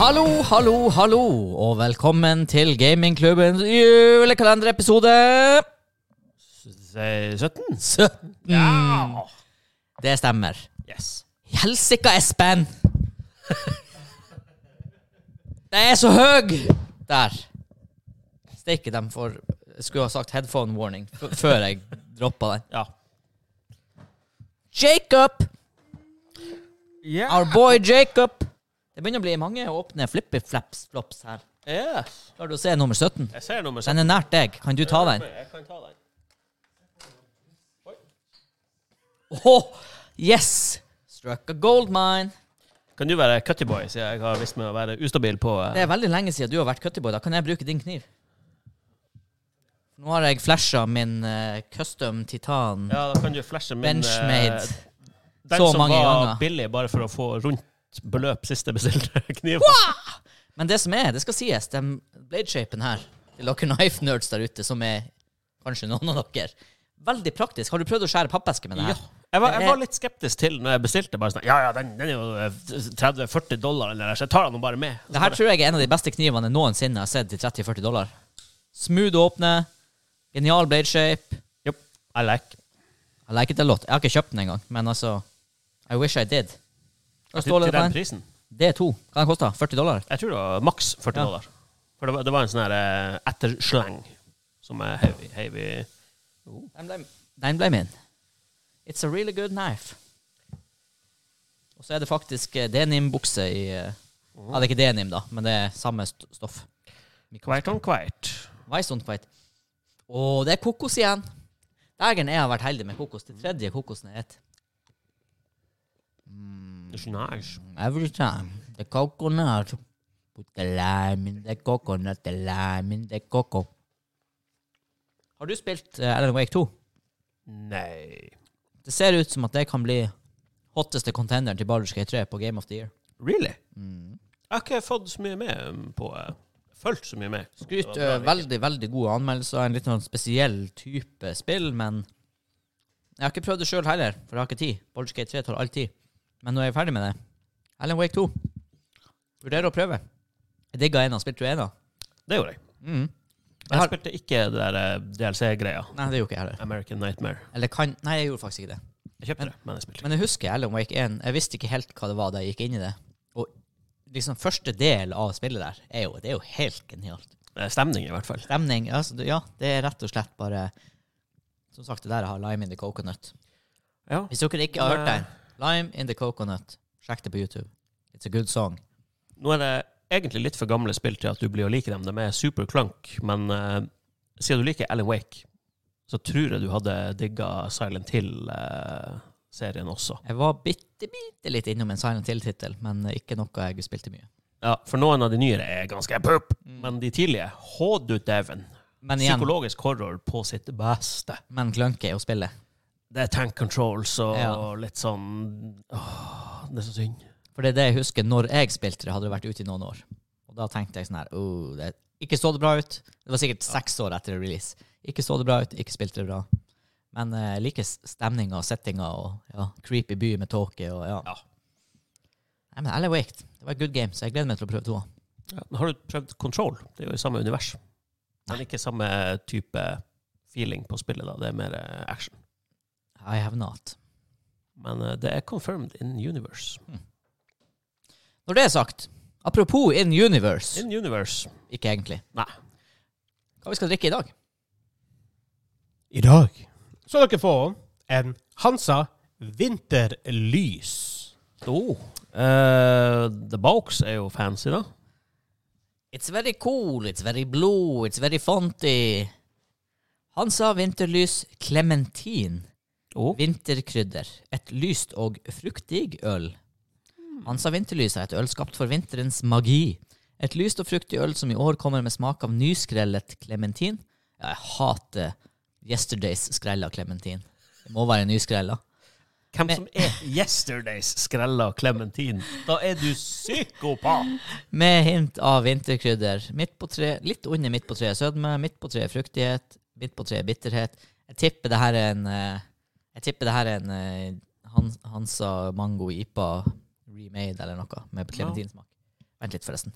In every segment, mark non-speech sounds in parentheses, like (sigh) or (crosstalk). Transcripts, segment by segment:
Hallo, hallo, hallo, og velkommen til gamingklubbens julekalenderepisode 17? 17. Det stemmer. Yes. Helsika, Espen! Det er så høy! Der. Steike dem for Jeg skulle ha sagt headphone warning f før jeg droppa den. Ja. Jacob! Yeah. Our boy Jacob. Det begynner å bli mange åpne flippy-flaps-flops her. Yes. Klarer du å se nummer 17? Jeg ser nummer 17. Den er nært deg. Kan du ta den? Jeg kan ta den. Åh, yes! Struck a gold mine. Kan du være cutty boy, siden jeg har vist meg å være ustabil på eh, Det er veldig lenge siden du har vært cuttyboy. Da kan jeg bruke din kniv. Nå har jeg flasha min eh, custom titan Ja, da kan du flashe min benchmade. eh, Den Så som mange var ganger. billig bare for å få rundt beløp siste bestilte (laughs) kniv. Men det som er, det skal sies, den bladeshapen her til dere knife nerds der ute, som er kanskje noen av dere, veldig praktisk. Har du prøvd å skjære pappeske med det Ja. her? Jeg var, jeg var litt skeptisk til når jeg bestilte. bare sånn, Ja, ja, den, den er jo eh, 30-40 dollar, eller så jeg tar den jo bare med. Så Det her tror jeg er en av de beste knivene jeg noensinne har sett til 30-40 dollar. Smooth å åpne, genial bladeshape. bare, Jopp, I like. I like it a lot. Jeg har ikke kjøpt den engang, men altså I wish I did. Hva Til, står det til på den den? prisen. Det er to. Hva den kosta? 40 dollar? Jeg tror det var maks 40 Ja. dollar. For det var, det var en sånn her eh, ettersleng som er heavy, heavy. Oh. Den ble, den ble min. It's a really good knife. Og så er det faktisk eh, denimbukse i eh, Ja, det er ikke denim, da, men det er samme st stoff. Quite on quite. Weiss on fight. Og det er kokos igjen. Dægeren jeg har vært heldig med kokos. Det tredje kokosen jeg spiser. It's nice. Every time the coconut put the lime in the coconut, the lime in the coco. Har du spilt eh, Alan Wake 2? Nei. Det ser ut som at det kan bli hotteste contenderen til Baldur's Gate 3 på Game of the Year. Really? Mm. Jeg har ikke fått så mye med um, på eh, Fulgt så mye med. Det Skryt var bra, eh, veldig, veldig gode anmeldelser. En litt sånn spesiell type spill, men jeg har ikke prøvd det sjøl heller, for jeg har ikke tid. Baldur's Gate 3 tar all tid. Men nå er jeg ferdig med det. Alan Wake 2. Vurderer å prøve. Jeg digga ena. Spilte du ena? Rikke. Det gjorde jeg. Mm. Jeg Jeg har- spilte ikke det der eh, DLC-greia. Nei, det gjorde ikke jeg heller. American Nightmare. Eller kan Nei, jeg gjorde faktisk ikke det. Jeg kjøpte det, men jeg spilte ikke. Men jeg husker Alan Wake 1. Jeg visste ikke helt hva det var da jeg gikk inn i det. Og liksom første del av spillet der er jo, det er jo helt genialt. Eh, Stemning, i hvert fall. Stemning altså, det- Ja, det er rett og slett bare Som sagt, det der har lime in the coconut. Ja. Hvis dere ikke har hørt den, Lime in the coconut, sjekk det på YouTube. It's a good song. Nå er det egentlig litt for gamle spill til at du blir å like dem. De er super klunk, men eh, siden du liker Alan Wake, så tror jeg du hadde digga Silent Hill-serien også. Jeg var bitte, bitte litt innom en Silent Hill-tittel, men ikke noe jeg spilte mye. Ja, for noen av de nyere er ganske poop, men de tidlige Hå du dæven. Mm. Men igjen, Psykologisk horror på sitt beste. men klønke er å spille. Det er tank controls og Ja. litt sånn åh, Det er så synd. For det er det jeg husker når jeg spilte det, hadde det vært ute i noen år. Og da tenkte jeg sånn her oh, det Ikke så det bra ut. Det var sikkert seks år etter release. Ikke så det bra ut, ikke spilte det bra. Men eh, jeg liker stemninga og settinga og ja, creepy by med tåke og ja. Ja. Nei, men Ally Waked, det var et good game, så jeg gleder meg til å prøve toa. Ja, har du prøvd Control? Det er jo i samme univers. Men ikke samme type feeling på spillet, da. Det er mer eh, action. I have not. Men eh, det er confirmed in universe. Når det er sagt, apropos In Universe In universe. Ikke egentlig. Nei. Hva vi skal drikke i dag? I dag så dere får en Hansa vinterlys. Oh. Eh, the Box er jo fancy, da. It's very cool, it's very blue, it's very fonty. Hansa Vinterlys Clementin. Oh. Vinterkrydder. Et lyst og fruktig øl. Hansa Vinterlys er et øl skapt for vinterens magi. Et lyst og fruktig øl som i år kommer med smak av nyskrellet klementin. Ja, jeg hater yesterdays skrella klementin. Det må være nyskrella. Hvem som er Yesterdays skrella Clementine? Da er du psykopat! Med hint av vinterkrydder. Midt på tre, litt under midt på treet sødme, midt på treet fruktighet, midt på treet bitterhet. Jeg tipper det her er en eh, Jeg tipper det her er en eh, Han- Hansa Mango Ipa remade eller noe med clementinsmak. I Vent litt, forresten.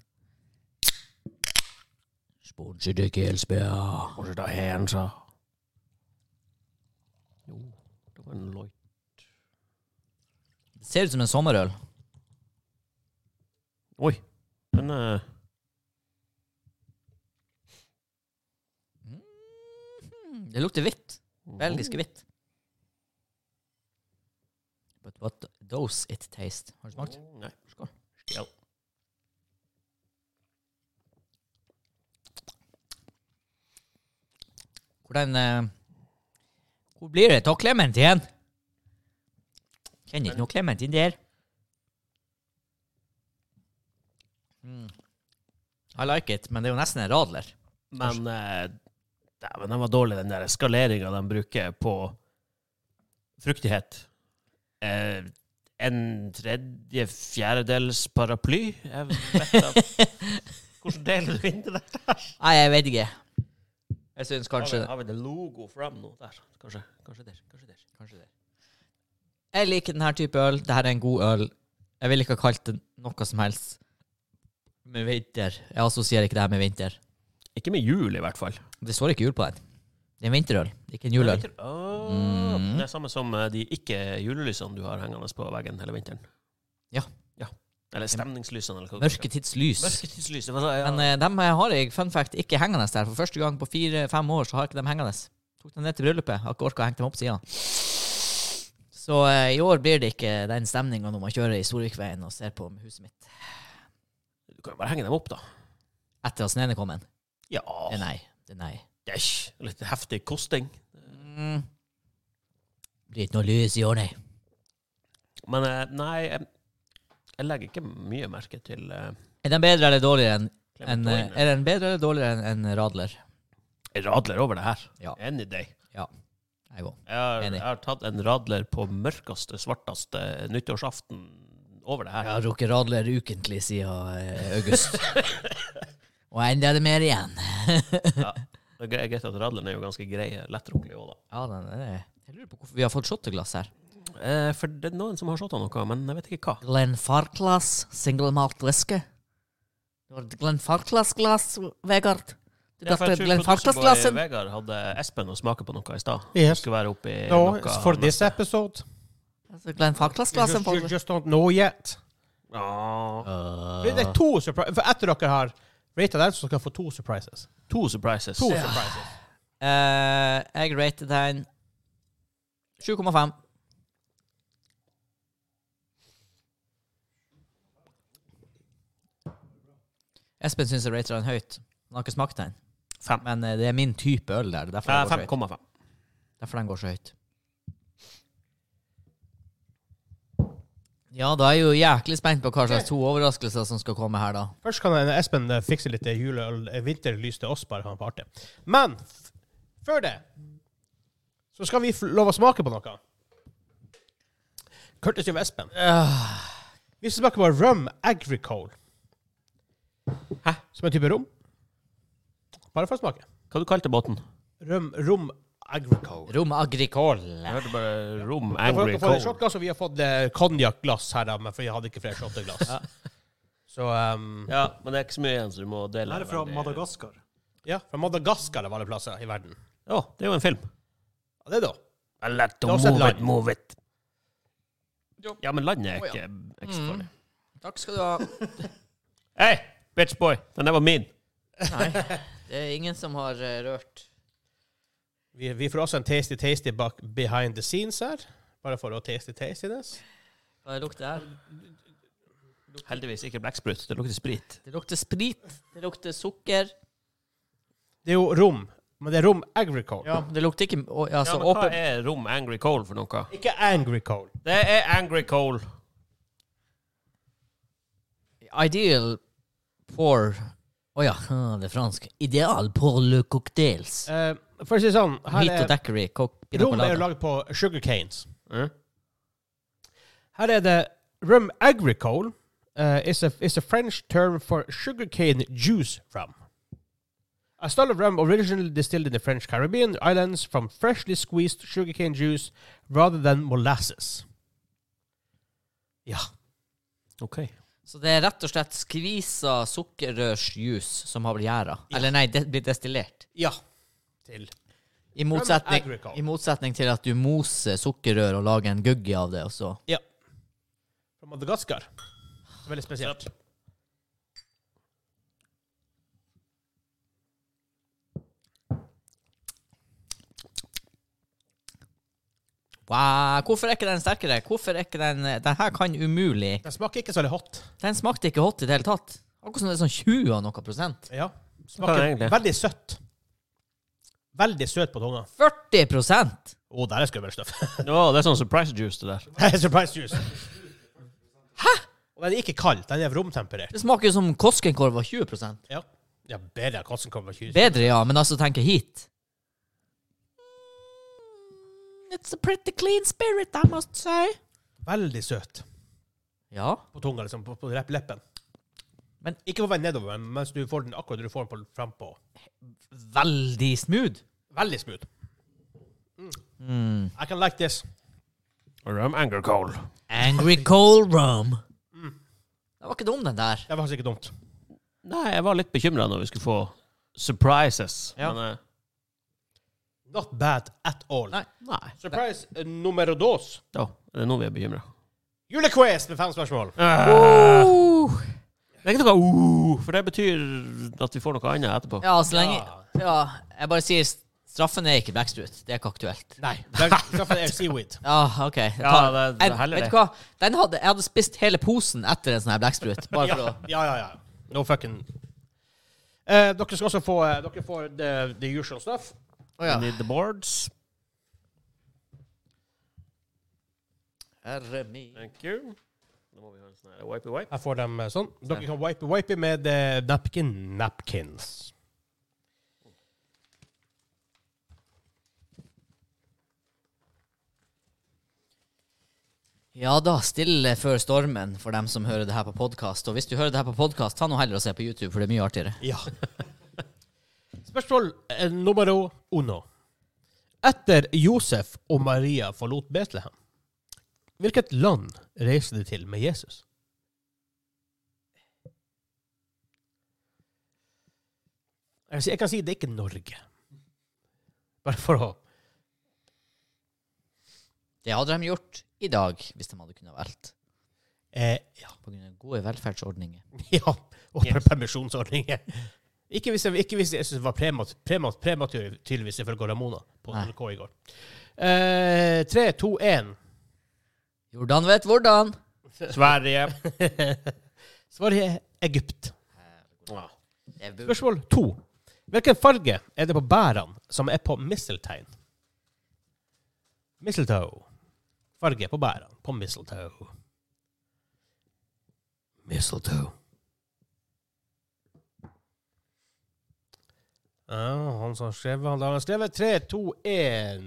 Sponsedykk Helsbya. Kanskje det er en sa. Jo, det var en Lloyd. Det ser ut som en sommerøl. Oi, den eh, Mhm. Det lukter hvitt. mm. Belgisk hvitt. But what does it taste? Har du smakt? Nei. Skål. Skål. Hvordan eh, Hvor blir det av Clementine? Kjenner ikke noe Clementine der. Mm. I like it, men det er jo nesten en radler. Men eh, dæven, den var dårlig, den der skaleringa de bruker på fruktighet. Eh, en tredje fjerdedels paraply? Jeg vet da (laughs) Hvordan deler du inn det der? Nei, jeg vet ikke. Jeg syns kanskje Har vi det logo fram nå? Der. Kanskje, kanskje der. Kanskje der. Kanskje det. Jeg liker denne type øl. Dette er en god øl. Jeg vil ikke ha kalt det noe som helst med vinter. Jeg assosierer ikke det her med vinter. Ikke med jul, i hvert fall. Det står ikke jul på den. Det er en vinterøl, ikke en Jeg juleøl. liker- Åh, Mm. Det er samme som eh, de ikke-julelysene du har hengende på veggen hele vinteren. Ja. ja. Eller stemningslysene. Eller hva det Mørke tids lys. Mørketidslys. Det var så, ja. Men eh, dem har jeg fun fact ikke hengende der. For første gang på fire-fem år så har jeg ikke dem hengende. Tok dem ned til bryllupet. Har ikke orka å henge dem opp siden. Så eh, i år blir det ikke den stemninga når man kjører i Storvikveien og ser på huset mitt Du kan jo bare henge dem opp, da. etter at snøen er kommet. Ja, Det er nei. Det er nei. det er ikke litt heftig kosting. Mm. Blir ikke noe lys i år, nei. Men eh, nei, jeg, jeg legger ikke mye merke til eh, Er den bedre eller dårligere enn enn, eh, Clementine. Er den bedre eller dårligere enn enn Radler? Jeg radler over det her. Ja. Any day. Jeg òg. Jeg har, Enig. jeg har tatt en radler på mørkeste, svarteste nyttårsaften over det Jeg her. har drukket Radler ukentlig siden eh, august. (laughs) Og enda er det mer igjen. Det er gre- greit at radleren er jo ganske grei, lettrokkelig òg, da. Ja, den er det. Jeg lurer på hvorfor vi har fått shotteglass her. Eh, for det er noen som har shotta noe, men jeg vet ikke hva. Glenn Farklas, single malt væske. Du har et Glenn Farklas-glass, Vegard. Du Ja, drakk for jeg tror Glenn producerboy Farklas-glassen. Vegard hadde Espen å smake på noe i stad. Yes. Skulle være oppi No, noe for this episode. Altså, Glenn You Farklas-glassen. just, you (laughs) just don't know yet. Ja. Det det er to surprises. For etter dere har ratet den, så skal dere få to surprises. To surprises. To surprises. Eh, jeg rated den 7,5. Espen syns jeg rater den høyt. Han har ikke smakt den. Fem. Men eh, det er min type øl der. Derfor Eh, den, går så høyt. 5,5. derfor den går så høyt. Ja, da er jeg jo jæklig spent på hva slags to overraskelser som skal komme her, da. Først kan en Espen eh, fikse litt juleøl, eh, vinterlys til oss, bare kan på artig. Men f- før det så skal vi få lov å smake på noe. Curtis og Espen. Vi skal smake på rum agricole. Hæ? Som en type rom. Bare for å smake. Hva du kalte du båten? Rum, rom agricole. Rom agricol. Jeg hørte bare Rom Da får Angry dere få det Cold. shotglass, og vi har fått eh, konjakkglass her, da, men for jeg hadde ikke flere shotteglass. Så ehm, Ja, men det er ikke så mye igjen, så du må dele. Den er fra veldig- Madagaskar. ja, fra Madagaskar av alle plasser i verden. Ja, det er jo en film. Ja, det, da. I like to Det er også et move it, land. move it. Jo. Ja, men landet er Å, ja. Mm. ikke ikke så farlig. Takk skal du ha. Hei, bitch boy! Den der var min. Nei, det er ingen som har eh, rørt Vi, vi får også en tasty tasty bak behind the scenes her. Bare for å tasty tastiness. Hva lukter her? Heldigvis ikke blekksprut. Det lukter sprit. Det lukter sprit, det lukter sukker Det er jo rom, men det er rom agricole. Ja, det lukter ikke å, Ja, altså, men hva åpen, er Rom Angry Cold for noe? Ikke angricole. Det er Angry Cold. Ideal pour Å ja, ah, det er fransk. Ideal pour le cocktails. Eh, for å si det sånn, her Heat og er daiquiri. coke, pina Rom er jo colada. laget på sugar canes. Mm. Her er det rum agricole. Uh, is, a, is a French term for sugarcane juice rum. A style of rum originally distilled in the French Caribbean islands from freshly squeezed sugarcane juice rather than molasses. Ja. OK. Så det er rett og slett skvisa sukkerrørsjuice som har blitt gjæra. Eller nei, det blir destillert. Ja. Til. I motsetning, agricole. I motsetning til at du moser sukkerrør og lager en gugge av det, og så Ja. Fra Madagaskar. Så Veldig spesielt. wow, Hvorfor er ikke den sterkere? Hvorfor er ikke den Den her kan umulig Den smaker ikke så veldig hot. Den smakte ikke hot i det hele tatt. Akkurat som det er sånn 20 og noe prosent. Ja. Hva Smaker er det egentlig? veldig søtt. Veldig søt på tunga. 40 prosent! Å, der er skummelt stoff. Å, det er sånn surprise juice, det (laughs) der. Surprise juice. Hæ?! Og den er ikke kald. Den er romtemperert. Det smaker jo som Koskenkorv var 20 prosent. Ja. ja bedre enn Kossenkorv og kyse. Bedre, ja, men altså, tenker hit. It's a pretty clean spirit, I must say. Veldig søt Ja. på tunga, liksom. På, på rep- leppen. Men- ikke på vei nedover, men mens du får den akkurat du får den på, frampå. Veldig smooth. Veldig smooth. Mm. I can like this. Rum anger coal. Angry cold rum. Mm. Den var ikke dum, den der. Det var faktisk ikke dumt. Nei, jeg var litt bekymra når vi skulle få surprises. Ja. Men eh, Not bad at all. Nei. nei. Surprise eh, numero dos. Da, det er nå vi er bekymra. Julequiz med fem spørsmål. Uh. Det er ikke noe uh, for det betyr at vi får noe annet etterpå. Ja, så lenge Ja, jeg bare sier s- straffen er ikke Blacksprut. Det er ikke aktuelt. Nei. Det er i hvert fall seaweed. Ja, OK. jeg Ja, tar- det- det jeg, er heller vet det. du hva? Den hadde, jeg hadde spist hele posen etter en sånn her Blacksprut. Bare for Ja, å ja, ja. ja. No fucking Eh, Dere skal også få eh, Dere får the, the usual stuff. Å ja. We Need the boards. Herre min. Thank you. Da må vi ha en sånn her wipey-wipe. Jeg får dem eh, sånn. Dere kan wipe-wipe med eh, napkin napkins. Ja da, stille før stormen for dem som hører det her på podkast. Og hvis du hører det her på podkast, ta nå heller og se på YouTube, for det er mye artigere. Ja. Spørsmål eh, numero uno. Etter Josef og Maria forlot Betlehem, hvilket land reiste de til med Jesus? Jeg kan si- Jeg kan si det er ikke Norge. Bare for å Det hadde de gjort i dag, hvis de hadde kunnet valgt. eh, ja. På grunn av gode velferdsordninger. (laughs) ja. Og Yes. permisjonsordninger. (laughs) Ikke hvis, jeg, ikke hvis jeg synes det var premat, premat, prematur, tydeligvis, ifølge Ramona på Nei. NRK i går. Eh, 3, 2, 1. Jordan vet hvordan. (laughs) Sverige. Svaret er Egypt. Ja. Det er bu- Spørsmål to. Hvilken farge er det på bærene som er på misteltein? Mistletoe. Farge på bærene på mistletoe. Mistletoe. Ja, han som har skrevet, han har skrevet 3, 2, 1.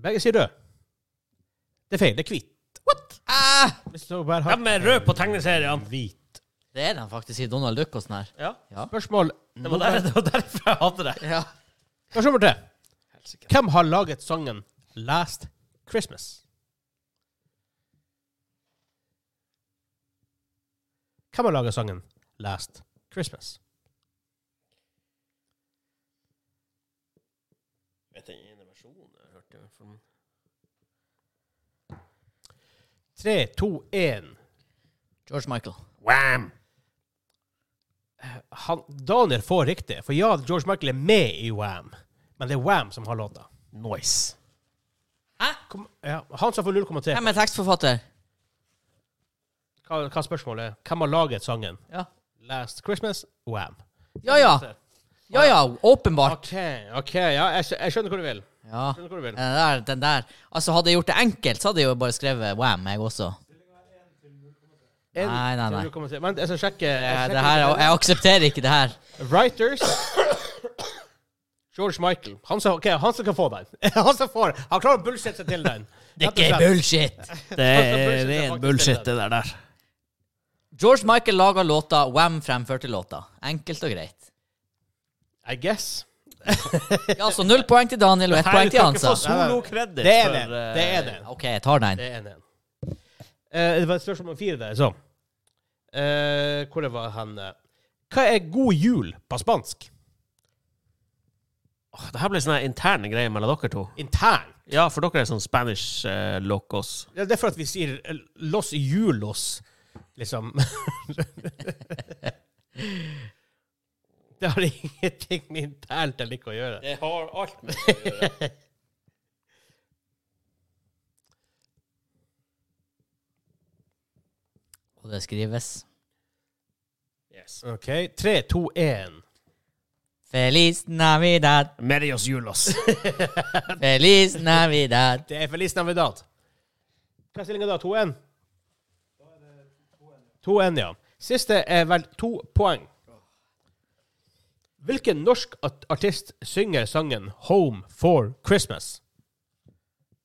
Begge sier rød. Det er feil. Det er hvit. Ah! Mistletoe bær har De er røde på tegneseriene. hvit. Det er den faktisk i Donald Duck og sånn her. Ja. Spørsmål Det var, der, (laughs) det var derfor jeg hadde det. Ja. Spørsmål nummer tre. Hvem har laget sangen Last Christmas? Hvem har laget sangen Last Christmas? Vet jeg ingen versjon jeg hørte fra den. 3, 2, 1. George Michael. Wham! Han, Daniel får riktig, for ja, George Michael er med i Wham, men det er Wham som har låta. Noise. Kom, ja, han som får 0,3. Hvem er tekstforfatter? Hva, hva spørsmålet er? Hvem har laget sangen Ja Last Christmas? Wham. ja. Ja ja, ja åpenbart. OK, ok, ja, jeg, skj- jeg skjønner hvor du vil. Ja. Skjønner hvor du vil. Den der, den der. Altså, hadde jeg gjort det enkelt, så hadde jeg jo bare skrevet Wham, jeg også. En Nei, nei, til nei. 0,3. Vent, jeg skal sjekke. jeg Eh, sjekker Det her, jeg aksepterer ikke det her. Writers George Michael. Han som, ok, han som kan få den. (laughs) Han som får Han klarer å bullshitte seg til den. bullshit! (laughs) Det er ren bullshit, det der. der. George Michael laga låta, Wham fremførte låta. Enkelt og greit. I guess. Ja, Så null poeng til Daniel og ett poeng til Hansa. solo-kredit. eh, Det eh, er den. Det er den. Ok, jeg tar den. Det er en. Eh, det var et spørsmål om fire der, så. Eh, hvor det var han eh, Hva er god jul på spansk? Åh, Det her ble sånne interne greier mellom dere to. Intern. Ja, for dere er sånn Spanish eh, locos. Ja, det er for at vi sier eh, los julos, liksom. (laughs) det har ingenting med internt eller ikke å gjøre. Det har alt med Og det skrives yes. OK. Tre, to, én. Feliz Navidad, Medios julos. Feliz Navidad. Det er Feliz Navidad. Hva er stillinga da? 2-1? 2-1, ja. Siste er vel to poeng. Hvilken norsk at- artist synger sangen 'Home for Christmas'?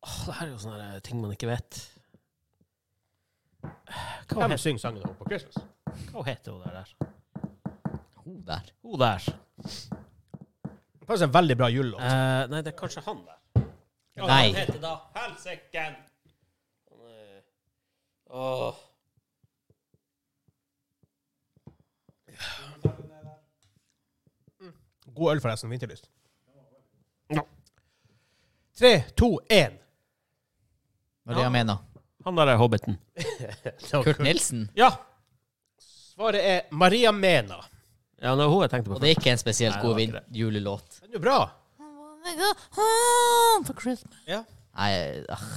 Åh, det her er jo sånne eh, ting man ikke vet. Hva, Hvem het, synger sangen 'Home for Christmas'? hva heter hun der? Ho der. Hun der. Faktisk en veldig bra julelåt. Eh, nei, det er kanskje han der. hva Nei. han heter da Helsiken! Åh. God øl, forresten. Vinterlyst. Ja. Tre, to, én. Hva er det jeg mener? Han der er Hobbiten. Kurt Nilsen? Ja! Svaret er Maria Mena. Ja, det var hun jeg tenkte på. Og det er ikke en spesielt Nei, det god var ikke vin- julelåt. Den er jo bra. Ja. Nei, ah.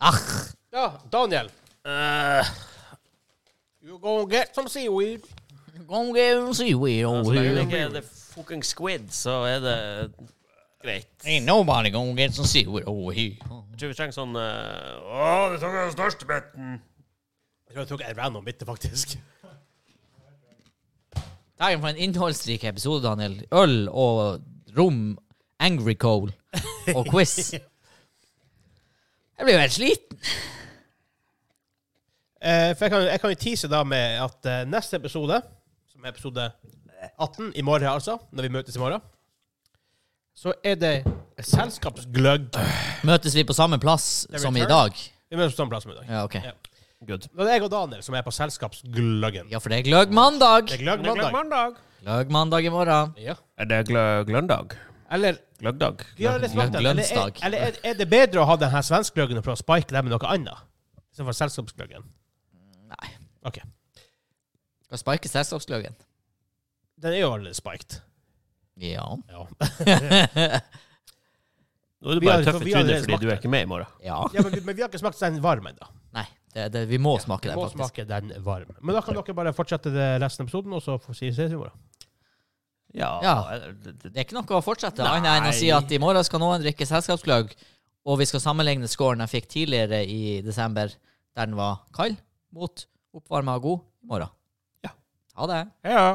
Ah. ja, Daniel. Eh, You gonna get some seaweed. Gonna get you seaweed så over lenge det here. ikke er det fucking squid, så er det greit. Ain't nobody gonna get some seaweed over here. Jeg tror vi trenger sånn eh, Åh, vi trenger den største biten! Jeg tror jeg tok en random bitte, faktisk. Dagen for en innholdsrik episode, Daniel. Øl og rom, angry coal og (laughs) quiz. Jeg blir jo helt sliten. Eh, for jeg kan, jeg kan jo tease da med at eh, neste episode, som er episode 18, i morgen altså, når vi møtes i morgen, så er det selskapsgløgg. Møtes vi på samme plass The som i return? dag? Vi møtes på samme plass som i dag. Ja, ok. Ja. Good. Da er det jeg og Daniel som er på selskapsgløggen. Ja, for det er gløggmandag. Det er gløgg mandag. Gløggmandag i morgen. Ja. Er det glø gløndag? Eller Gløggdag? Ja, eller smakt den. liksom Eller, er, Glønnsdag. eller er, er det bedre å ha den her svenskløggen og prøve å spike den med noe annet? Istedenfor selskapskløggen? Nei. OK. Skal sparke selskapsgløggen. Den er jo allerede spiked. Ja. Ja. Nå er du Vi bare har- tøff for i vi trynet har allerede fordi du er smakt ikke med i morgen. Ja. ja men, vi- men vi har ikke smakt den varm ennå. Nei, det, det, vi må smake Vi den, må faktisk. smake den varm. Men da kan dere bare fortsette det resten av episoden, og så får vi ses i morgen. Ja. eh, det- det- Det er ikke noe å fortsette, annet enn å si Nei. at i morgen skal noen drikke selskapsgløgg, og vi skal sammenligne scoren jeg fikk tidligere i desember, der den var kald, mot oppvarma og god i morgen. Ja. Ha det. Ja.